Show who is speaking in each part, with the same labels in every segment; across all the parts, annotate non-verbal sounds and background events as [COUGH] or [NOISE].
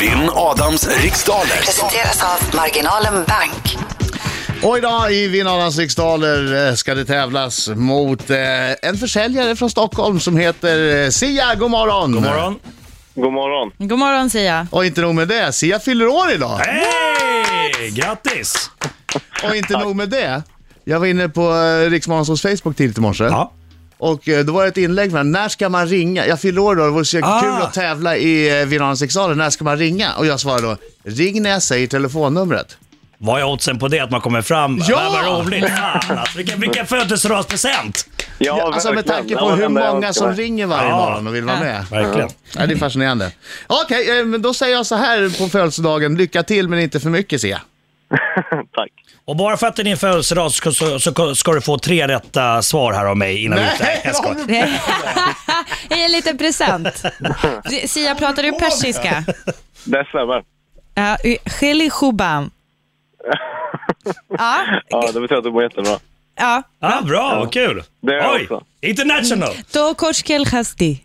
Speaker 1: Vinn Adams riksdaler.
Speaker 2: Presenteras av Marginalen Bank.
Speaker 3: Och idag i Vinnarnas riksdaler eh, ska det tävlas mot eh, en försäljare från Stockholm som heter eh, Sia. God morgon!
Speaker 4: God morgon.
Speaker 5: God morgon.
Speaker 6: God morgon Sia.
Speaker 3: Och inte nog med det, Sia fyller år idag.
Speaker 4: Hej! Grattis! Äh.
Speaker 3: Och inte nog med det. Jag var inne på eh, Riksmorgonsols Facebook tidigt i morse.
Speaker 4: Ja.
Speaker 3: Och eh, då var det ett inlägg med när ska man ringa? Jag fyller år idag, det vore så
Speaker 4: Ah.
Speaker 3: kul att tävla i eh, Vinnarnas riksdaler. När ska man ringa? Och jag svarade då, ring när jag säger telefonnumret.
Speaker 4: Vad är oddsen på det att man kommer fram?
Speaker 3: Ja!
Speaker 4: Vad- Vad roligt! Fan, alltså, vilken vilken födelsedagspresent!
Speaker 5: Ja,
Speaker 3: alltså med
Speaker 5: verkligen.
Speaker 3: tanke
Speaker 5: Det
Speaker 3: på
Speaker 5: var
Speaker 3: hur
Speaker 5: det enda jag
Speaker 3: många
Speaker 5: önskade
Speaker 3: som
Speaker 5: mig.
Speaker 3: ringer varje
Speaker 4: Ja.
Speaker 3: morgon och vill vara med.
Speaker 4: Verkligen.
Speaker 3: Ja, det är fascinerande. Okej, eh, men då säger jag så här på födelsedagen. Lycka till, men inte för mycket, ser jag.
Speaker 5: Tack.
Speaker 4: Och bara för att det är din födelsedag så, så, så ska du få tre rätta svar här av mig innan vi
Speaker 3: Nej,
Speaker 4: Nej, jag skojar.
Speaker 6: Hej, en liten present. Sia, pratar du persiska?
Speaker 5: Det stämmer.
Speaker 6: Ja, Kheli Shuban. Ja,
Speaker 5: Ja, det betyder att du mår jättebra.
Speaker 6: ja.
Speaker 4: Ja, bra, vad kul!
Speaker 5: Det är jag
Speaker 4: Oj!
Speaker 5: också.
Speaker 4: International!
Speaker 6: Då korskel khasti.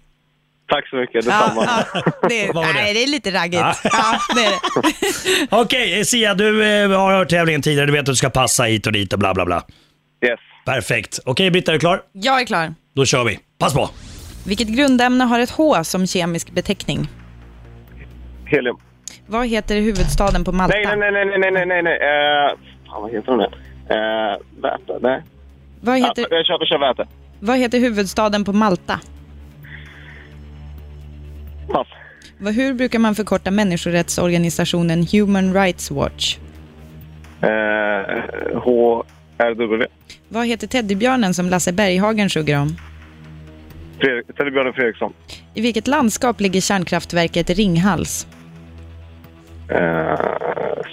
Speaker 5: Tack så mycket.
Speaker 6: Ja,
Speaker 5: Detsamma.
Speaker 6: ja. Det, är-
Speaker 4: Vad var det?
Speaker 6: nej, det är lite raggigt.
Speaker 4: Ja.
Speaker 6: Ja, det är det.
Speaker 4: Okej, eh, Sia, du eh, har hört tävlingen tidigare. Du vet att du ska passa hit och dit och bla bla bla.
Speaker 5: Yes.
Speaker 4: Perfekt. Okej, Britta, är du klar?
Speaker 6: Jag är klar.
Speaker 4: Då kör vi. Pass på!
Speaker 6: Vilket grundämne har ett H som kemisk beteckning?
Speaker 5: Helium.
Speaker 6: Vad heter huvudstaden på Malta?
Speaker 5: Nej, nej, nej, nej, nej, nej, nej, nej, nej. Eh, fan, vad heter hon nu? Eh, väte? Nej.
Speaker 6: Vad,
Speaker 5: Ja,
Speaker 6: heter,
Speaker 5: jag kör, jag kör väte.
Speaker 6: vad heter huvudstaden på Malta?
Speaker 5: Pass.
Speaker 6: Vad- Hur brukar man förkorta människorättsorganisationen Human Rights Watch?
Speaker 5: Eh, HRW.
Speaker 6: Vad heter teddybjörnen som Lasse Berghagen sjunger om?
Speaker 5: Fredrik, Teddybjörnen Fredriksson.
Speaker 6: I vilket landskap ligger kärnkraftverket Ringhals?
Speaker 5: Eh,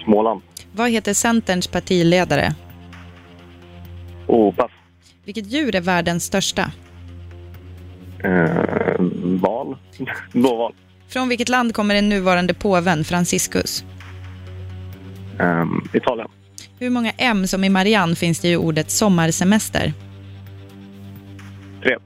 Speaker 5: Småland.
Speaker 6: Vad heter Centerns partiledare?
Speaker 5: Oh, pass.
Speaker 6: Vilket djur är världens största?
Speaker 5: Eh, val. [LAUGHS] Blåval.
Speaker 6: Från vilket land kommer den nuvarande påven Franciscus?
Speaker 5: Eh, Italien.
Speaker 6: Hur många M som i Marianne finns det i ordet sommarsemester?
Speaker 5: Tre.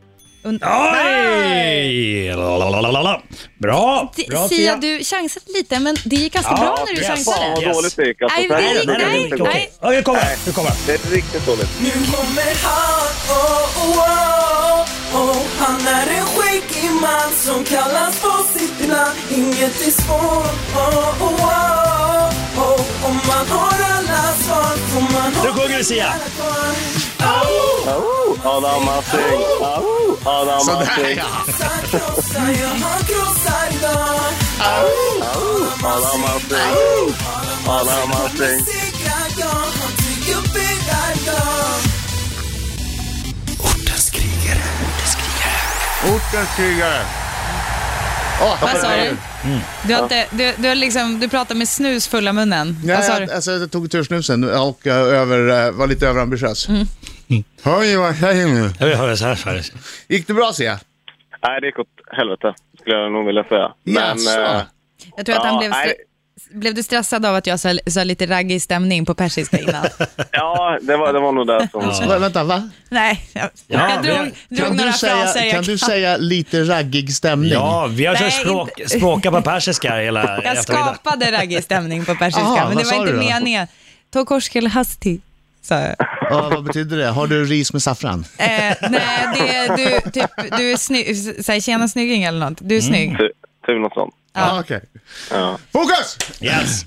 Speaker 6: Und-
Speaker 4: Oj! Lalalala. Bra!
Speaker 6: Si-
Speaker 4: Bra,
Speaker 6: Ah! Sia, du chansade lite, men det gick ganska bra när du
Speaker 4: yes.
Speaker 5: Fan,
Speaker 6: chansade.
Speaker 5: vad
Speaker 4: Yes.
Speaker 5: dåligt det gick. Alltså,
Speaker 6: Nej,
Speaker 5: det här
Speaker 6: det
Speaker 5: är-
Speaker 6: gick-
Speaker 5: det här är
Speaker 6: nej,
Speaker 5: inte
Speaker 6: nej.
Speaker 5: okej.
Speaker 4: Okej, nu kommer den. Nu kommer den.
Speaker 5: Det är riktigt dåligt.
Speaker 7: Nu kommer han, oh, oh, oh, oh. Han är en skäggig man som kallas på sitt namn Inget är svårt, oh, oh, oh, oh. Om man har alla svar får man ha
Speaker 4: Nu sjunger vi, Sia.
Speaker 7: alla kvar. Au,
Speaker 5: Oh, Adam Alsing! Oh, Adam
Speaker 3: Sådär
Speaker 5: Alsing!
Speaker 3: ja!
Speaker 7: han krossar, ja, han krossar idag
Speaker 5: Adam Alsing! Adam Alsing!
Speaker 7: Segrar, ja, han tycker byggar, ja
Speaker 1: Ortens krigare.
Speaker 3: Ortens krigare.
Speaker 6: Vad sa
Speaker 3: Mm.
Speaker 6: du? Du, har inte, du, du, har liksom, du pratar med snus fulla munnen. Vad
Speaker 3: Nej,
Speaker 6: sa
Speaker 3: jag,
Speaker 6: du?
Speaker 3: alltså, jag tog tursnusen och eh, över, eh, var lite överambitiös.
Speaker 6: Mm.
Speaker 3: Hörni, vad säger nu?
Speaker 4: Jag vill höra så här, så här.
Speaker 3: Gick det bra, Sia?
Speaker 5: Nej, det gick åt helvete, skulle jag nog vilja säga.
Speaker 3: Jaså?
Speaker 5: eh,
Speaker 6: Jag tror att han
Speaker 5: Ja,
Speaker 6: blev,
Speaker 5: nej.
Speaker 6: stre- blev du stressad av att jag sa, sa lite raggig stämning på
Speaker 3: [LAUGHS]
Speaker 6: persiska innan?
Speaker 5: ja, det var, det var nog det som...
Speaker 3: Va, vänta, va?
Speaker 6: Nej, jag,
Speaker 4: Ja,
Speaker 6: jag
Speaker 4: vi
Speaker 6: drog,
Speaker 4: har-
Speaker 6: drog
Speaker 3: Kan du,
Speaker 6: några
Speaker 3: säga,
Speaker 6: fraser. jag
Speaker 3: kan du säga lite raggig stämning?
Speaker 4: Ja, vi har
Speaker 6: Nej,
Speaker 4: kört språk, språka på persiska hela
Speaker 6: Jag
Speaker 4: eftermiddagen.
Speaker 6: skapade raggig stämning på persiska,
Speaker 3: Aha,
Speaker 6: men det
Speaker 3: vad
Speaker 6: var
Speaker 3: sa
Speaker 6: inte
Speaker 3: du då?
Speaker 6: meningen. Tokorskel hasti, sa jag.
Speaker 3: Ja, vad betyder det? Har du ris med saffran?
Speaker 6: Eh, nej, det är du, typ, du är snygg, säg tjena snygging eller något. Du är
Speaker 3: Mm.
Speaker 6: snygg.
Speaker 5: Typ ty något sånt.
Speaker 3: Ja, okej.
Speaker 5: Ja.
Speaker 3: Fokus!
Speaker 4: Yes.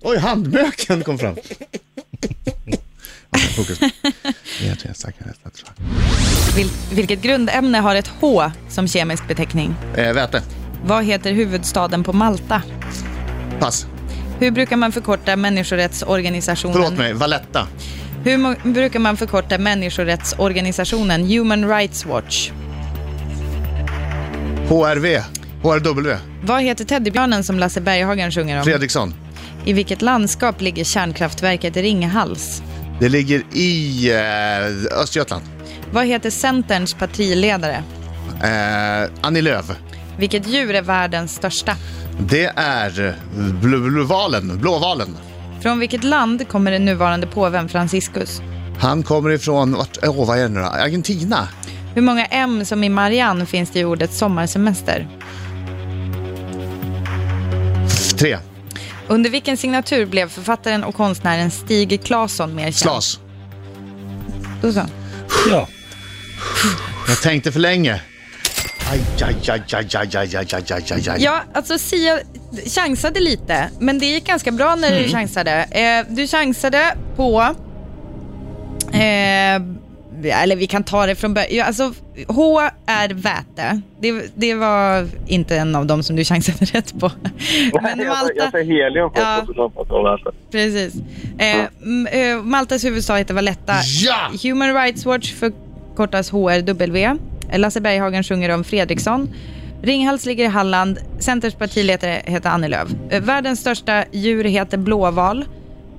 Speaker 3: Oj, handböken kom fram. Ja, Fokus. Vet jag, tackar, tackar, tackar.
Speaker 6: Vil, vilket grundämne har ett H som kemisk beteckning?
Speaker 3: Eh, väte.
Speaker 6: Vad heter huvudstaden på Malta?
Speaker 3: Pass.
Speaker 6: Hur brukar man förkorta människorättsorganisationen?
Speaker 3: Förlåt mig, Valletta.
Speaker 6: Hur mo- brukar man förkorta människorättsorganisationen Human Rights Watch?
Speaker 3: HRV. HRW.
Speaker 6: Vad heter teddybjörnen som Lasse Berghagen sjunger om?
Speaker 3: Fredriksson.
Speaker 6: I vilket landskap ligger kärnkraftverket Ringhals?
Speaker 3: Det ligger i eh, Östergötland.
Speaker 6: Vad heter Centerns partiledare?
Speaker 3: Eh, Annie Lööf.
Speaker 6: Vilket djur är världens största?
Speaker 3: Det är bl- blåvalen. blåvalen.
Speaker 6: Från vilket land kommer den nuvarande påven Franciscus?
Speaker 3: Han kommer ifrån, vart, eh, åh, vad är det nu då? Argentina.
Speaker 6: Hur många M som i Marianne finns det i ordet sommarsemester?
Speaker 3: Tre.
Speaker 6: Under vilken signatur blev författaren och konstnären Stig Claesson mer känd?
Speaker 3: Slas.
Speaker 6: Då så.
Speaker 4: Ja.
Speaker 3: Jag tänkte för länge. Aj, aj, aj, aj, aj, aj, aj, aj, aj, aj, aj.
Speaker 6: Ja, alltså Sia chansade lite, men det gick ganska bra när
Speaker 5: Mm.
Speaker 6: du chansade. Eh, du chansade på... Eh, eller vi kan ta det från början. Ja, Alltså, H är väte. Det, det var inte en av dem som du chansade [LAUGHS] rätt på.
Speaker 5: Nej, jag, tar- jag tar helium först
Speaker 6: Ja.
Speaker 5: och så tar jag på att läsa.
Speaker 6: Precis. Eh, m- eh, Maltas huvudstad heter Valletta.
Speaker 3: Ja!
Speaker 6: Human Rights Watch förkortas HRW. Lasse Berghagen sjunger om Fredriksson. Ringhals ligger i Halland. Centerns partiledare heter Annie Lööf. Eh, Världens största djur heter blåval.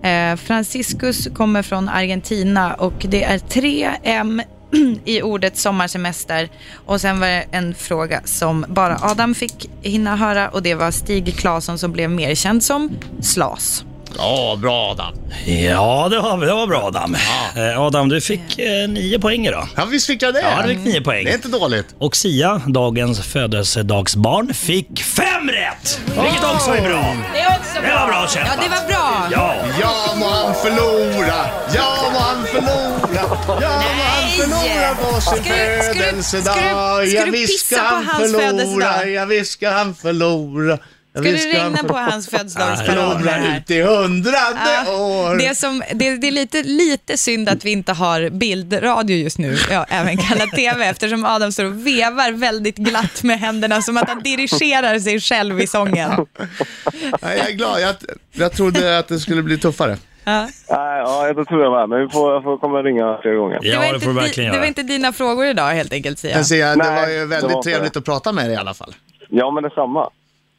Speaker 6: Eh, Franciscus kommer från Argentina och det är tre M [CLEARS THROAT] i ordet sommarsemester. Och sen var det en fråga som bara Adam fick hinna höra och det var Stig Claesson som blev mer känd som Slas.
Speaker 3: Ja, bra Adam.
Speaker 4: Ja, det var, det var bra Adam. Eh, Adam, du fick eh, nio poäng idag.
Speaker 3: Ja, visst fick jag det?
Speaker 4: Ja, du fick nio poäng.
Speaker 3: Det är inte dåligt.
Speaker 4: Och Sia, dagens födelsedagsbarn, fick fem rätt! Vilket också är bra.
Speaker 6: Det är också
Speaker 4: Det var bra kämpat.
Speaker 6: Ja, det var bra.
Speaker 4: Ja.
Speaker 3: Ja, må han förlora! Ja, må han förlora! Ja, må han
Speaker 6: Nej!
Speaker 3: förlora på sin
Speaker 6: Ska du- ska du- ska
Speaker 3: födelsedag!
Speaker 6: du- ska du pissa på hans födelsedag?
Speaker 3: Jag visst ska han förlora! Jag
Speaker 6: Ska
Speaker 3: visst
Speaker 6: du regna på hans födelsedagsparoller
Speaker 3: Förlora
Speaker 6: här?
Speaker 3: ut i hundrade
Speaker 6: Ja,
Speaker 3: år!
Speaker 6: det, är som, det, det är lite, lite synd att vi inte har bildradio just nu, ja, även kallat
Speaker 4: [LAUGHS]
Speaker 6: TV, eftersom Adam står och vevar väldigt glatt med händerna som att han dirigerar sig själv i sången.
Speaker 3: Nej, jag är glad. Jag, jag trodde att det skulle bli tuffare.
Speaker 6: Ja.
Speaker 5: Nej, ja, det tror jag med. Men vi får, jag får komma och ringa fler gånger.
Speaker 4: Ja, det, får du
Speaker 6: di-
Speaker 4: verkligen
Speaker 6: det var
Speaker 4: göra.
Speaker 6: inte dina frågor idag helt enkelt, Sia.
Speaker 3: Men Sia, det
Speaker 5: Nej,
Speaker 3: var ju
Speaker 5: det
Speaker 3: väldigt
Speaker 5: var för-
Speaker 3: trevligt att prata med dig i alla fall.
Speaker 5: Ja, men detsamma.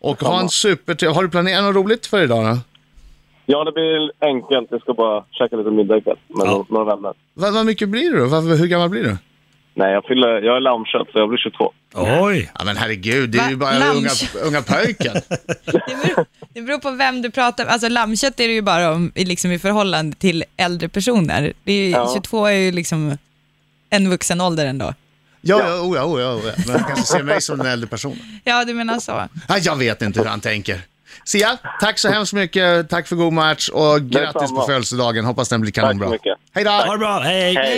Speaker 3: Och ha en supertrevlig... Har du planerat något roligt för idag då?
Speaker 5: Ja, det blir enkelt. Jag ska bara käka lite middag ikväll med
Speaker 4: Ja.
Speaker 5: några- några vänner.
Speaker 3: Vad, vad mycket blir du då? Vad, hur gammal blir du?
Speaker 5: Nej, jag, fyller, jag är lammkött så jag blir 22.
Speaker 4: Oj!
Speaker 3: Ja men herregud, det är
Speaker 6: Va?
Speaker 3: ju bara unga,
Speaker 6: Lammkött?
Speaker 3: unga pöjken.
Speaker 6: Det beror, det beror på vem du pratar med. Alltså lammkött är det ju bara om, i- liksom, i förhållande till äldre personer. Det är ju,
Speaker 5: Ja.
Speaker 6: 22 är ju liksom en vuxen ålder ändå.
Speaker 3: Ja, ja, oh, ja, oh, ja, oh, ja. Men han kanske ser mig som en äldre person.
Speaker 6: Ja, du menar så.
Speaker 3: Ja, jag vet inte hur han tänker. Sia, tack så hemskt mycket. Tack för god match och grattis på
Speaker 5: Detsamma.
Speaker 3: födelsedagen. Hoppas den blir kanonbra.
Speaker 5: Tack så mycket.
Speaker 3: Hej då!
Speaker 4: Ha det bra, hej! hej.